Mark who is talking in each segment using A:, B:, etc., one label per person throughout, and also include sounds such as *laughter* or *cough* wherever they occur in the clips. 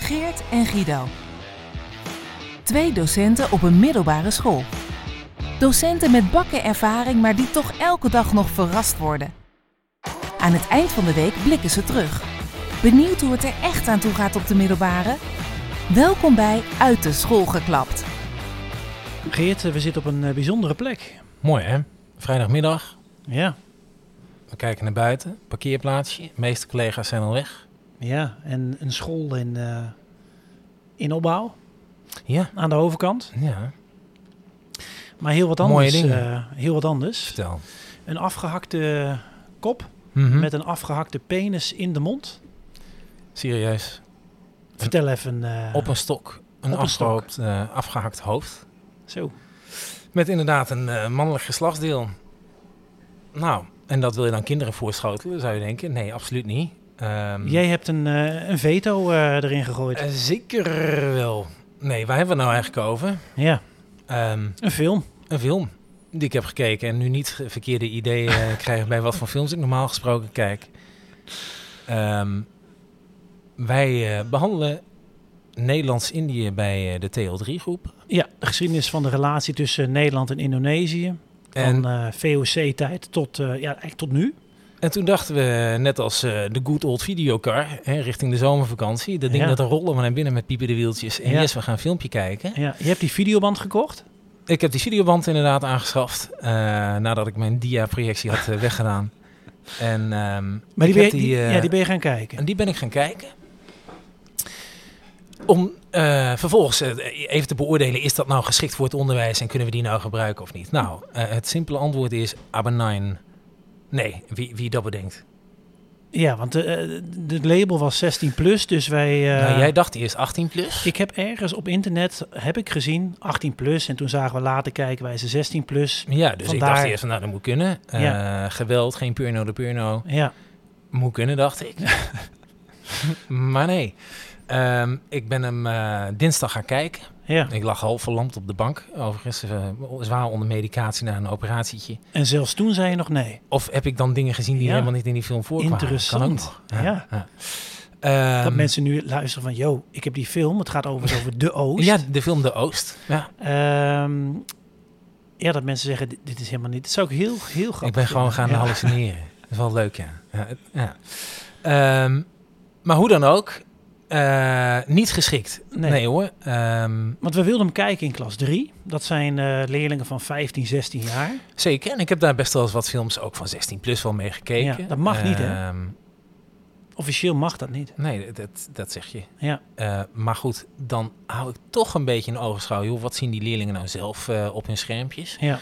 A: Geert en Guido. Twee docenten op een middelbare school. Docenten met bakken ervaring, maar die toch elke dag nog verrast worden. Aan het eind van de week blikken ze terug. Benieuwd hoe het er echt aan toe gaat op de middelbare? Welkom bij Uit de School geklapt.
B: Geert, eh, we zitten op een eh, bijzondere plek.
C: Mooi hè? Vrijdagmiddag,
B: Ja,
C: we kijken naar buiten, parkeerplaatsje. De meeste collega's zijn al weg.
B: ja. En een school in, eh, in opbouw
C: Ja,
B: aan de overkant.
C: ja,
B: Maar heel wat
C: Mooie
B: anders.
C: dingen.
B: eh, heel wat anders.
C: vertel.
B: Een afgehakte kop
C: Mhm.
B: met een afgehakte penis in de mond.
C: Serieus,
B: Vertel even. eh,
C: op een stok, een,
B: op een stok.
C: afgehakt, eh, afgehakt hoofd.
B: Zo.
C: Met inderdaad een eh, mannelijk geslachtsdeel. Nou, en dat wil je dan kinderen voorschotelen, zou je denken? Nee, absoluut niet. Ehm,
B: Jij hebt een, eh, een veto eh, erin gegooid.
C: eh, zeker wel. Nee, waar hebben we het nou eigenlijk over?
B: ja,
C: Ehm,
B: een film.
C: een film die ik heb gekeken en nu niet ge- verkeerde ideeën
B: *laughs*
C: eh, krijg bij wat voor films ik normaal gesproken kijk. Ehm, wij eh, behandelen Nederlands-Indië bij eh, de TL3-groep.
B: Ja, de geschiedenis van de relatie tussen Nederland en Indonesië.
C: En,
B: Van eh, VOC-tijd tot, eh, ja, eigenlijk tot nu.
C: en toen dachten we, net als eh, de good old videocar, hè, richting de zomervakantie, dat ding
B: Ja.
C: dat er rollen maar naar binnen met piepen de wieltjes. En
B: Ja.
C: yes, we gaan een filmpje kijken.
B: Ja, je hebt die videoband gekocht.
C: Ik heb die videoband inderdaad aangeschaft, eh, nadat ik mijn dia-projectie had eh,
B: *laughs*
C: weggedaan. En, ehm,
B: Maar die ben,
C: ik
B: je,
C: heb die, eh,
B: ja, die ben je gaan kijken.
C: En die ben ik gaan kijken. Om eh, vervolgens eh, even te beoordelen, is dat nou geschikt voor het onderwijs en kunnen we die nou gebruiken of niet? Nou, eh, het simpele antwoord is aber nein. Nee, wie, wie dat bedenkt.
B: Ja, want eh, eh, het label was 16 plus, dus wij. eh,
C: nou, jij dacht eerst 18 plus.
B: Ik heb ergens op internet heb ik gezien 18 plus en toen zagen we later kijken wij ze 16 plus.
C: Ja, dus
B: vandaar-
C: ik dacht eerst, van, nou dat moet kunnen. Eh, Geweld, geen purno de purno.
B: Ja,
C: Moet kunnen, dacht ik. *laughs* maar nee, Ehm, ik ben hem eh, dinsdag gaan kijken.
B: ja.
C: Ik lag half verlamd op de bank. Overigens, eh, zwaar onder medicatie na een operatietje.
B: En zelfs toen zei je nog nee.
C: Of heb ik dan dingen gezien die
B: Ja.
C: helemaal niet in die film voorkwamen?
B: Interessant.
C: Kan ook nog.
B: Ja.
C: Ehm,
B: dat mensen nu luisteren van, yo, ik heb die film. Het gaat overigens over
C: *laughs*
B: de Oost.
C: Ja, de film De Oost. Ja.
B: Ehm, ja, dat mensen zeggen, dit, dit is helemaal niet. Dat zou ik heel, heel grappig
C: Ik ben gewoon gaan
B: vinden. Ja.
C: hallucineren. Dat is wel leuk, ja. ja, het- ja. Ehm, maar hoe dan ook, eh, niet geschikt.
B: Nee.
C: Nee, hoor. Ehm,
B: Want we wilden hem kijken in klas 3. Dat zijn eh, leerlingen van 15, 16 jaar.
C: zeker. En ik heb daar best wel eens wat films ook van 16 plus wel mee gekeken.
B: Ja, dat mag niet, hè?
C: Ehm,
B: Officieel mag dat niet.
C: Nee, dat, dat zeg je.
B: Ja.
C: Eh, maar goed, dan hou ik toch een beetje in ogenschouw. Joh, wat zien die leerlingen nou zelf eh, op hun schermpjes?
B: Ja.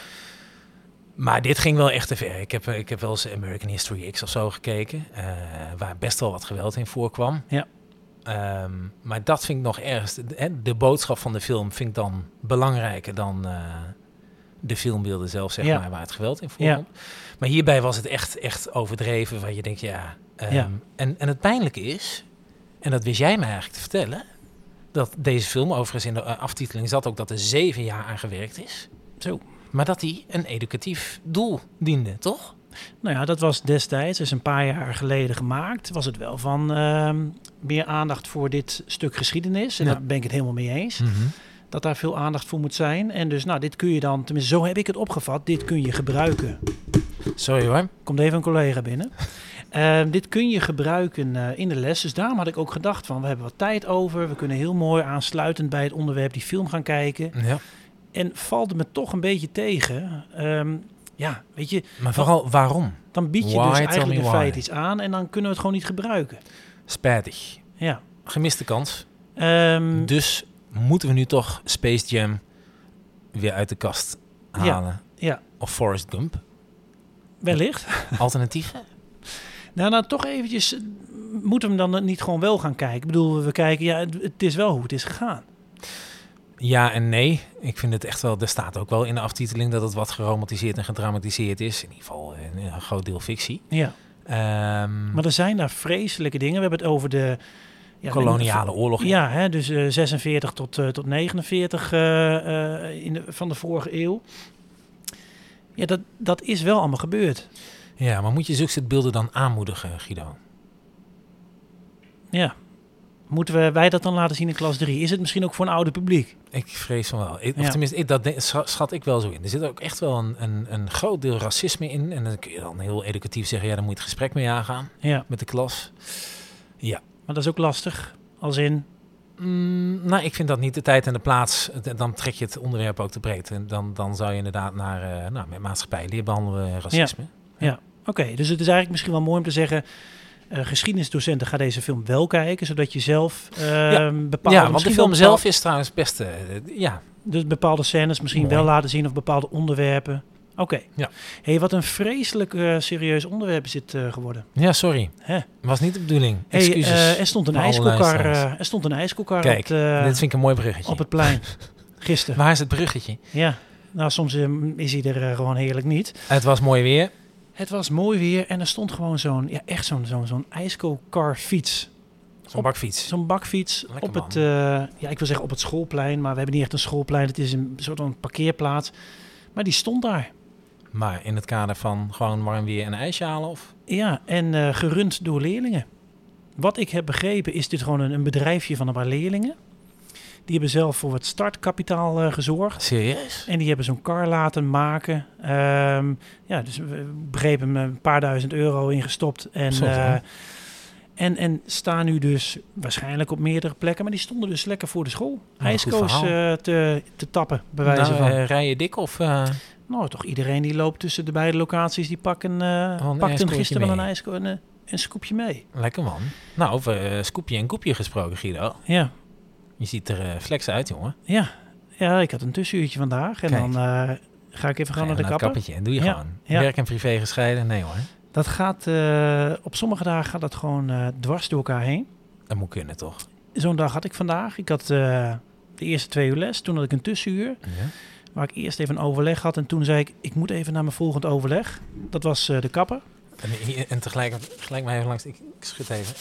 C: Maar dit ging wel echt te ver. Ik heb, eh, ik heb wel eens American History X of zo gekeken, eh, waar best wel wat geweld in voorkwam.
B: Ja.
C: Ehm, maar dat vind ik nog ergens. De, hè, de boodschap van de film vind ik dan belangrijker dan eh, de filmbeelden zelf, zeg
B: Ja.
C: maar, waar het geweld in voorkwam. Maar hierbij was het echt, echt overdreven, waar je denkt, ja. ehm,
B: Ja.
C: En, en het pijnlijke is, en dat wist jij me eigenlijk te vertellen, dat deze film, overigens in de eh, aftiteling zat ook dat er zeven jaar aan gewerkt is. Maar dat die een educatief doel diende, toch?
B: Nou ja, dat was destijds, dus een paar jaar geleden gemaakt. Was het wel van ehm, meer aandacht voor dit stuk geschiedenis. En
C: Ja. Hm.
B: daar ben ik het helemaal mee eens. Dat daar veel aandacht voor moet zijn. En dus, nou, dit kun je dan, tenminste, zo heb ik het opgevat. Dit kun je gebruiken.
C: Sorry hoor.
B: Komt even een collega binnen. Ehm, dit kun je gebruiken eh, in de les. Dus daarom had ik ook gedacht van, we hebben wat tijd over. We kunnen heel mooi aansluitend bij het onderwerp die film gaan kijken.
C: Ja.
B: En valt het me toch een beetje tegen. Ehm, ja, weet je,
C: Maar vooral waarom?
B: dan bied je
C: Why?
B: dus
C: Tell me
B: eigenlijk in
C: why.
B: feite iets aan. En dan kunnen we het gewoon niet gebruiken.
C: Spijtig.
B: Ja.
C: Gemiste kans.
B: Ehm,
C: Dus moeten we nu toch Space Jam weer uit de kast
B: Ja.
C: halen?
B: Ja.
C: Of Forrest Gump?
B: wellicht.
C: Alternatieven?
B: Nou, nou, toch eventjes. eh, Moeten we hem dan niet gewoon wel gaan kijken? Ik bedoel, we kijken. Ja, het, het is wel hoe het is gegaan.
C: ja en nee. Ik vind het echt wel... Er staat ook wel in de aftiteling dat het wat geromantiseerd en gedramatiseerd is. In ieder geval een, een groot deel fictie.
B: Ja.
C: Ehm,
B: Maar er zijn daar vreselijke dingen. We hebben het over de. Ja,
C: koloniale oorlog.
B: Ja, hè, dus eh, 46 tot, eh, tot 49 eh, eh, in de, van de vorige eeuw. Ja, dat, dat is wel allemaal gebeurd.
C: ja, maar moet je zulke soort beelden dan aanmoedigen, Guido?
B: Ja. Moeten we, wij dat dan laten zien in klas 3? Is het misschien ook voor een ouder publiek?
C: Ik vrees van wel. Ik- Of
B: Ja.
C: tenminste, ik, dat de- scha- schat ik wel zo in. Er zit ook echt wel een, een, een groot deel racisme in. En dan kun je dan heel educatief zeggen, ja, dan moet je het gesprek mee aangaan
B: Ja,
C: met de klas.
B: maar dat is ook lastig. Als in,
C: Mm, nou, ik vind dat niet de tijd en de plaats. Het- Dan trek je het onderwerp ook te breed. En dan, dan zou je inderdaad naar eh, nou, met maatschappij leer behandelen en racisme.
B: oké, dus het is eigenlijk misschien wel mooi om te zeggen... eh, geschiedenisdocenten gaan deze film wel kijken, zodat je zelf eh
C: Ja,
B: bepaalde...
C: want de
B: misschien wel
C: film
B: bepaal-
C: zelf is trouwens best... eh, eh, ja,
B: Dus bepaalde scènes misschien
C: Mooi.
B: wel laten zien of bepaalde onderwerpen. Oké.
C: Ja.
B: hey, wat een vreselijk eh, serieus onderwerp is dit eh, geworden.
C: ja, sorry.
B: Hè?
C: Was niet de bedoeling.
B: Hey,
C: Excuses.
B: eh, er stond een
C: voor alle
B: ijskoekar,
C: luisteraars.
B: eh, er stond een ijskoekar
C: Kijk,
B: op, de-
C: Dit vind ik een mooi bruggetje.
B: op het
C: *laughs*
B: plein gisteren.
C: Waar is het bruggetje?
B: Ja, nou soms eh, is hij er eh, gewoon heerlijk niet.
C: Het was mooi weer.
B: Het was mooi weer en er stond gewoon zo'n, ja echt zo'n zo'n zo'n ijskoekar fiets.
C: Zo'n bakfiets.
B: Zo'n bakfiets
C: Lekker
B: op
C: man.
B: het, eh, ja, ik wil zeggen op het schoolplein, maar we hebben niet echt een schoolplein. Het is een soort van parkeerplaats. Maar die stond daar.
C: Maar in het kader van gewoon warm weer en een ijsje halen of...
B: Ja, en eh, gerund door leerlingen. Wat ik heb begrepen is dit gewoon een, een bedrijfje van een paar leerlingen. Die hebben zelf voor wat startkapitaal eh, gezorgd.
C: Serieus?
B: En die hebben zo'n kar laten maken. Ehm, ja, dus we begrepen er een paar duizend euro ingestopt. En,
C: Zo, hè?
B: eh, en, en staan nu dus waarschijnlijk op meerdere plekken. Maar die stonden dus lekker voor de school.
C: een goed
B: Ijskoos
C: verhaal.
B: eh, te, te tappen, bij wijze
C: nou,
B: van.
C: eh, rij je dik of... eh,
B: Nou, toch iedereen die loopt tussen de beide locaties, die pakken, eh
C: Wel Oh, een
B: pakten
C: ijskoeltje
B: gisteren wel een,
C: mee.
B: ijsko een, eh, een scoopje mee.
C: lekker man. Nou, over eh, scoopje en koepje gesproken, Guido.
B: Ja,
C: Je ziet er eh, flex uit, jongen.
B: ja. ja, ik had een tussenuurtje vandaag en
C: Kijk.
B: dan eh, ga ik even
C: Ga je
B: gaan naar de
C: het
B: kapper.
C: kappertje en doe je
B: Ja,
C: gewoon.
B: ja.
C: Werk en privé gescheiden? Nee hoor.
B: Dat gaat, eh, op sommige dagen gaat dat gewoon eh, dwars door elkaar heen.
C: Dat moet kunnen toch?
B: Zo'n dag had ik vandaag. Ik had eh, de eerste twee uur les, toen had ik een tussenuur. Waar ik eerst even een overleg had en toen zei ik, ik moet even naar mijn volgend overleg. Dat was eh, de kapper.
C: En, hier- en tegelijk, gelijk maar even langs. Ik, ik schud even.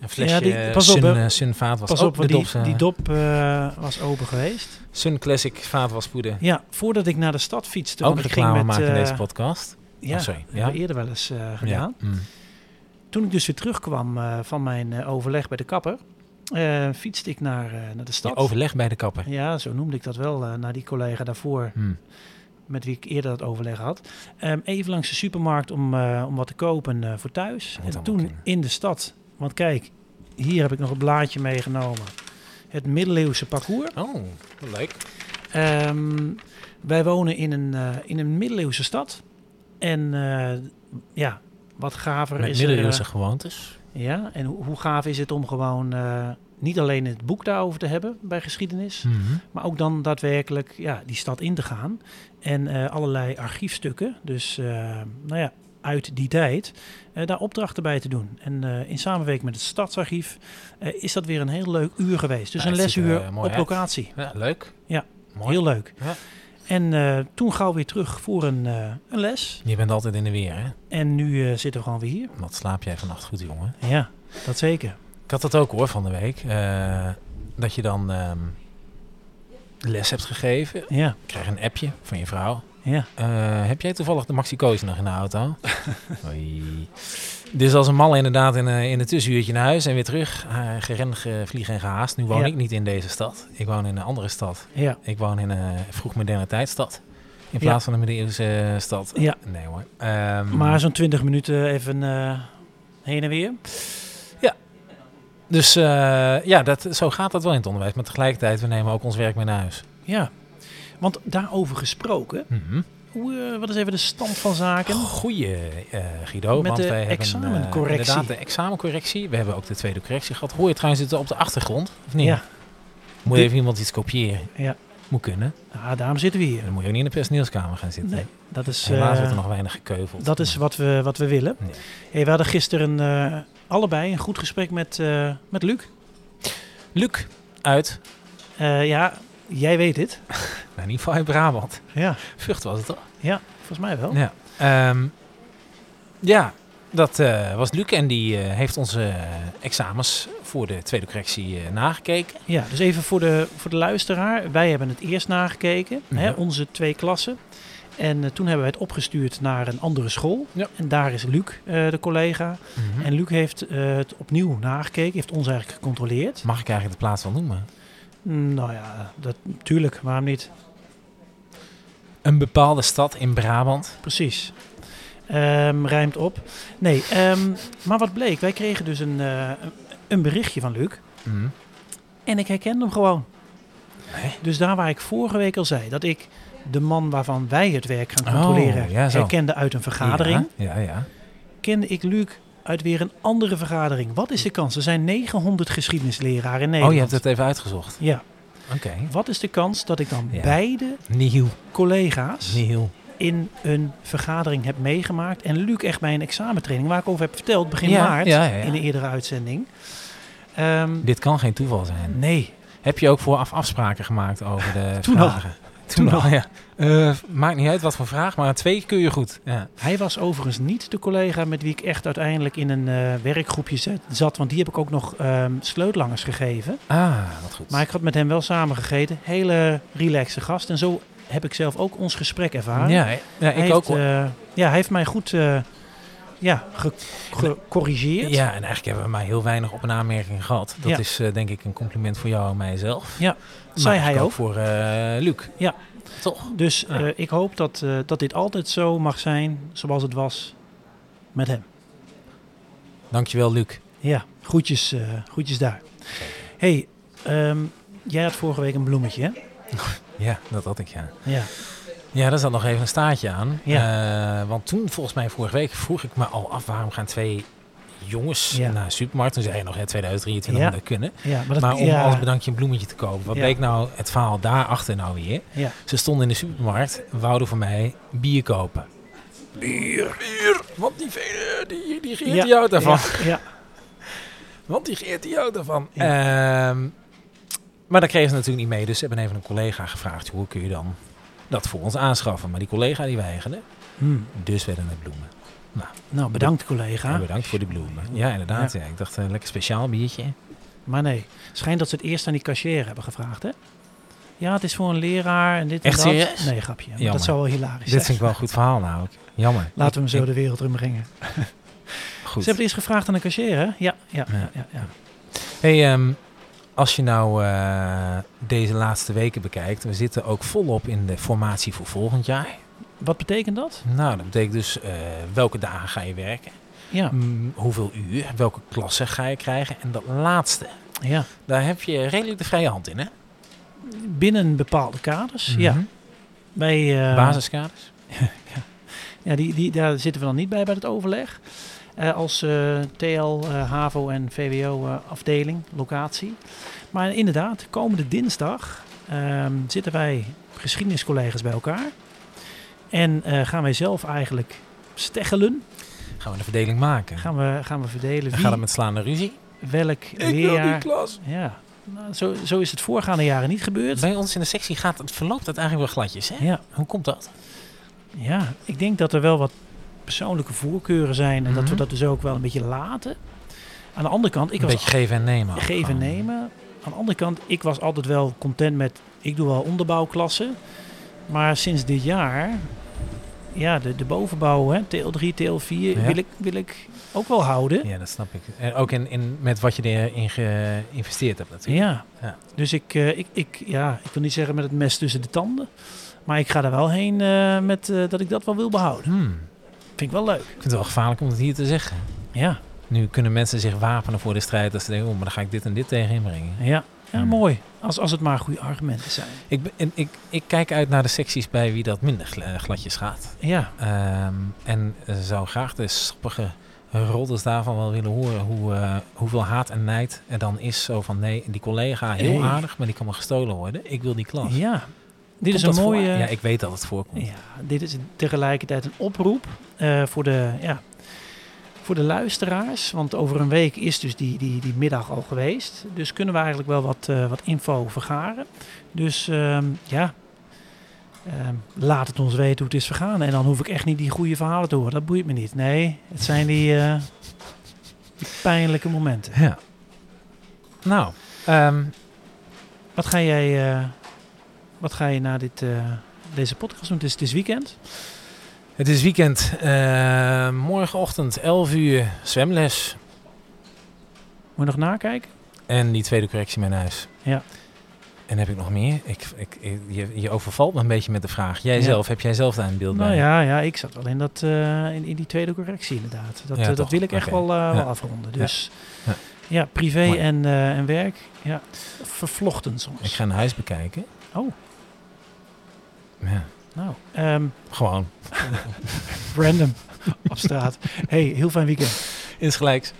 C: Een flesje
B: Ja, die-
C: eh,
B: pas op,
C: Sun,
B: hè.
C: eh, Sun vaat was
B: Pas
C: ook
B: op,
C: de
B: want die,
C: dop, eh,
B: die dop eh, was open geweest.
C: Sun Classic vaat was poeder.
B: Ja, voordat ik naar de stad fietste,
C: Ook
B: want ik ging
C: reclame
B: met...
C: maken in
B: eh,
C: deze podcast.
B: ja,
C: Oh, sorry.
B: dat
C: Ja.
B: hebben we eerder wel eens eh, gedaan.
C: Ja. Mm.
B: Toen ik dus weer terugkwam eh, van mijn eh, overleg bij de kapper, eh, fietste ik naar, eh, naar de
C: Ja,
B: stad.
C: overleg bij de kapper.
B: Ja, zo noemde ik dat wel eh, naar die collega daarvoor,
C: Mm.
B: met wie ik eerder dat overleg had. Ehm, even langs de supermarkt om, eh, om wat te kopen eh, voor thuis.
C: Moet
B: en
C: allemaal
B: toen
C: kunnen.
B: in de stad. Want kijk, hier heb ik nog een blaadje meegenomen. Het middeleeuwse parcours.
C: Oh, leuk.
B: Ehm, wij wonen in een, eh, in een middeleeuwse stad. En eh, ja, wat gaver
C: Met
B: is er, eh,
C: middeleeuwse gewoontes.
B: Ja, en hoe, hoe gaaf is het om gewoon eh, niet alleen het boek daarover te hebben bij geschiedenis,
C: Mhm.
B: maar ook dan daadwerkelijk ja, die stad in te gaan en eh, allerlei archiefstukken, dus eh, nou ja, uit die tijd, eh, daar opdrachten bij te doen. En eh, in samenwerking met het Stadsarchief eh, is dat weer een heel leuk uur geweest. Dus
C: Ja,
B: een
C: het ziet er,
B: lesuur
C: eh,
B: op
C: mooi uit.
B: locatie.
C: Ja, leuk.
B: Ja,
C: Mooi.
B: Heel leuk.
C: Ja.
B: En eh, toen gauw weer terug voor een, eh, een les.
C: Je bent altijd in de weer, hè?
B: En nu eh, zitten we gewoon weer hier.
C: Wat slaap jij vannacht goed, jongen?
B: Ja, dat zeker.
C: Ik had dat ook hoor van de week. eh, dat je dan ehm, les hebt gegeven. Ik
B: Ja,
C: krijg een appje van je vrouw.
B: ja.
C: Eh, heb jij toevallig de Maxi Coos nog in de auto? *laughs* Oei. Dus als een malle inderdaad in, eh, in een tussenuurtje naar huis en weer terug. Eh, gerend, ge- vliegen en gehaast. Nu woon
B: Ja.
C: ik niet in deze stad. Ik woon in een andere stad.
B: Ja,
C: Ik woon in een vroeg moderne tijdstad.
B: Ja.
C: In plaats van een middeleeuwse eh, stad.
B: Ja.
C: Nee hoor. Ehm,
B: Maar zo'n 20 minuten even eh, heen en weer.
C: Dus eh, ja, dat, zo gaat dat wel in het onderwijs. Maar tegelijkertijd, we nemen ook ons werk mee naar huis.
B: Ja. Want daarover gesproken,
C: Mhm.
B: hoe, eh, wat is even de stand van zaken?
C: Goeie, eh, Guido.
B: Met
C: want
B: de
C: wij hebben, eh,
B: examencorrectie.
C: inderdaad, de examencorrectie. We hebben ook de tweede correctie gehad. Hoor je trouwens het op de achtergrond? Of niet?
B: Ja,
C: Moet even iemand iets kopiëren?
B: Ja.
C: Moet kunnen.
B: Ah, daarom zitten we hier.
C: Dan moet je ook niet in de personeelskamer gaan zitten.
B: Nee, dat is,
C: Helaas
B: eh,
C: wordt er nog weinig gekeuveld.
B: dat is wat, we, wat we willen.
C: Ja.
B: Hey, we hadden gisteren eh, allebei een goed gesprek met, eh, met Luc.
C: Luc, uit.
B: Eh, ja, jij weet dit.
C: Nou, niet van uit Brabant.
B: Ja,
C: Vught was het toch?
B: ja volgens mij wel.
C: Ja. Ehm, ja, dat eh, was Luc. En die eh, heeft onze eh, examens voor de tweede correctie eh, nagekeken.
B: Ja, dus even voor de, voor de luisteraar. Wij hebben het eerst nagekeken, hè,
C: Ja.
B: onze twee klassen. En eh, toen hebben wij het opgestuurd naar een andere school.
C: Ja. Hm.
B: En daar is Luc, eh, de collega. En Luc heeft eh, het opnieuw nagekeken, heeft ons eigenlijk gecontroleerd.
C: Mag ik eigenlijk de plaats wel noemen?
B: Mm, Nou ja, dat, tuurlijk, waarom niet?
C: Een bepaalde stad in Brabant.
B: Precies. Ehm rijmt op. Nee, ehm, maar wat bleek? Wij kregen dus een, eh, een- een berichtje van Luc.
C: Mhm.
B: En ik herkende hem gewoon.
C: Hé?
B: Dus daar waar ik vorige week al zei, dat ik de man waarvan wij het werk gaan controleren
C: Oh, ja, zo.
B: herkende uit een vergadering,
C: Ja, ja. ja.
B: kende ik Luc uit weer een andere vergadering. Wat is de kans? Er zijn 900 geschiedenisleraren in Nederland.
C: Oh, je hebt het even uitgezocht.
B: Ja.
C: Oké.
B: Wat is de kans dat ik dan
C: Ja.
B: beide
C: Nieuw.
B: collega's
C: Nieuw.
B: in een vergadering heb meegemaakt. En Luc echt bij een examentraining, waar ik over heb verteld begin
C: Ja,
B: maart
C: ja, ja, ja.
B: in de eerdere uitzending. Ehm,
C: Dit kan geen toeval zijn.
B: nee,
C: Heb je ook vooraf afspraken gemaakt over de
B: *laughs* Toen al.
C: vragen?
B: Toen al.
C: ja. Eh, maakt niet uit wat voor vraag, maar twee kun je goed. Ja.
B: hij was overigens niet de collega met wie ik echt uiteindelijk in een eh, werkgroepje zet- zat. Want die heb ik ook nog ehm, sleutelangers gegeven.
C: Ah, wat goed.
B: Maar ik had met hem wel samen gegeten. Hele relaxe gast. En zo heb ik zelf ook ons gesprek ervaren.
C: ja, ja, ik
B: hij heeft,
C: ook.
B: eh, ja, hij heeft mij goed eh, ja, ge- gecorrigeerd.
C: Ja, en eigenlijk hebben we maar heel weinig op een aanmerking gehad. Dat
B: eh, Ja.
C: is eh, denk ik een compliment voor jou en mijzelf.
B: Ja,
C: Maar
B: zei hij
C: eigenlijk
B: ook.
C: voor eh, Luc.
B: Ja.
C: Toch?
B: Dus
C: Ja.
B: eh, ik hoop dat, eh, dat dit altijd zo mag zijn zoals het was met hem.
C: Dankjewel, Luc.
B: Ja, groetjes, eh, groetjes daar. hey, ehm, jij had vorige week een bloemetje, hè?
C: Ja, dat had ik, ja.
B: Ja.
C: Ja, daar zat nog even een staartje aan. Eh, want toen, volgens mij vorige week, vroeg ik me al af... waarom gaan twee jongens
B: Ja.
C: naar de supermarkt? Toen zei je nog, hè, 2023
B: Ja.
C: moet dat kunnen.
B: ja maar dat,
C: Maar om
B: ja,
C: als bedankje een bloemetje te kopen. Wat
B: Ja.
C: bleek nou het verhaal daarachter nou weer?
B: Ja.
C: Ze stonden in de supermarkt, wouden voor mij bier kopen. Bier, bier. Want die, vele- die, die geert die jou daarvan.
B: Ja, ja,
C: Want die geert die jou daarvan. Ehm, maar dat kregen ze natuurlijk niet mee. Dus ze hebben even een collega gevraagd. Hoe kun je dan dat voor ons aanschaffen? Maar die collega die weigerde.
B: Hmm.
C: Dus werden het bloemen.
B: Nou, bedankt collega.
C: Ja, bedankt voor de bloemen. Ja, inderdaad. Ja. Ik dacht, eh, lekker speciaal biertje.
B: Maar nee, schijnt dat ze het eerst aan die cashier hebben gevraagd, hè? Ja, het is voor een leraar en dit en
C: Echt
B: dat.
C: serieus?
B: Nee, grapje. Maar
C: Jammer.
B: Dat zou wel hilarisch
C: Dus Dit
B: zijn.
C: vind ik wel een goed verhaal nou. Jammer.
B: Laten we hem zo
C: Ik-
B: de wereld in brengen. Ze
C: Goed.
B: hebben het eerst gevraagd aan de cashier, hè? Ja, ja,
C: Ja.
B: ja. ja, ja.
C: Hey, ehm, als je nou eh, deze laatste weken bekijkt, we zitten ook volop in de formatie voor volgend jaar.
B: Wat betekent dat?
C: Nou, dat betekent dus eh, welke dagen ga je werken,
B: Ja,
C: Mm, hoeveel uur, welke klassen ga je krijgen. En dat laatste,
B: ja.
C: daar heb je redelijk de vrije hand in, hè?
B: Binnen bepaalde kaders, ja.
C: Mhm.
B: Bij, eh,
C: Basiskaders.
B: Ja, die, die, daar zitten we dan niet bij bij het overleg. Eh, als eh, TL, eh, HAVO en VWO eh, afdeling, locatie. Maar inderdaad, komende dinsdag ehm, zitten wij geschiedeniscollega's bij elkaar. En eh, gaan wij zelf eigenlijk steggelen.
C: Gaan we de verdeling maken.
B: Gaan we, gaan we verdelen
C: we
B: wie,
C: gaan het met slaande ruzie.
B: welk leerjaar...
C: klas.
B: Ja, nou, zo, zo is het voorgaande jaren niet gebeurd.
C: Bij ons in de sectie gaat het, verloopt het eigenlijk wel gladjes, hè?
B: Ja,
C: Hoe komt dat?
B: Ja, ik denk dat er wel wat persoonlijke voorkeuren zijn. En dat we
C: Mhm.
B: dat dus ook wel een beetje laten. Aan de andere kant, ik
C: Een
B: was
C: beetje geven en nemen. ook
B: geven en
C: gewoon.
B: nemen. Aan de andere kant, ik was altijd wel content met... Ik doe wel onderbouwklassen. Maar sinds dit jaar... Ja, de, de bovenbouw, hè, TL3, TL4,
C: Ja.
B: wil, ik, wil ik ook wel houden.
C: Ja, dat snap ik. En ook in, in, met wat je erin geïnvesteerd hebt natuurlijk.
B: Ja.
C: Ja.
B: Dus ik, eh, ik, ik, ja, ik wil niet zeggen met het mes tussen de tanden. Maar ik ga er wel heen eh, met eh, dat ik dat wel wil behouden.
C: Hmm.
B: Vind ik wel leuk.
C: Ik vind het wel gevaarlijk om het hier te zeggen.
B: Ja,
C: Nu kunnen mensen zich wapenen voor de strijd. Dat ze denken, oh, maar dan ga ik dit en dit tegen inbrengen.
B: ja. ja
C: Hmm.
B: mooi. Als, als het maar goede argumenten zijn.
C: Ik, ben- en ik, ik kijk uit naar de secties bij wie dat minder gl- eh, gladjes gaat.
B: Ja,
C: Ehm, en eh, zou graag de sappige rodders daarvan wel willen horen. Hoe, eh, hoeveel haat en nijd er dan is. Zo van, nee, die collega heel
B: Hey.
C: aardig, maar die kan maar gestolen worden. Ik wil die klas.
B: ja. Dit
C: Komt
B: is een
C: dat
B: mooie...
C: voor? Ja, ik weet dat het voorkomt.
B: Ja, dit is tegelijkertijd een oproep eh, voor, de, ja, voor de luisteraars. Want over een week is dus die, die, die middag al geweest. Dus kunnen we eigenlijk wel wat, eh, wat info vergaren. Dus ehm, ja, ehm, laat het ons weten hoe het is vergaan. En dan hoef ik echt niet die goede verhalen te horen. Dat boeit me niet. Nee, het zijn die, eh, die pijnlijke momenten.
C: Ja. Nou, ehm,
B: Wat ga jij, eh, wat ga je na dit, eh, deze podcast doen. Het is, het is weekend.
C: Het is weekend. Eh, morgenochtend 11 uur zwemles.
B: Moet je nog nakijken?
C: En die tweede correctie mijn huis.
B: Ja.
C: En heb ik nog meer? Ik, ik, ik- je, je overvalt me een beetje met de vraag. Jij
B: Ja.
C: zelf, heb jij zelf daar een beeld
B: Nou
C: bij?
B: ja, ja, ik zat al in, dat, eh, in, in die tweede correctie inderdaad. Dat,
C: Ja,
B: eh,
C: toch.
B: dat wil ik echt
C: Oké.
B: wel, eh,
C: Ja.
B: wel afronden.
C: Ja.
B: Dus ja,
C: Ja.
B: privé
C: Mooi.
B: en, eh, en werk, ja, vervlochten soms.
C: Ik ga een huis bekijken.
B: Oh.
C: Ja,
B: Nou, ehm,
C: gewoon.
B: *laughs* random op straat. Hey, heel fijn weekend.
C: Insgelijks.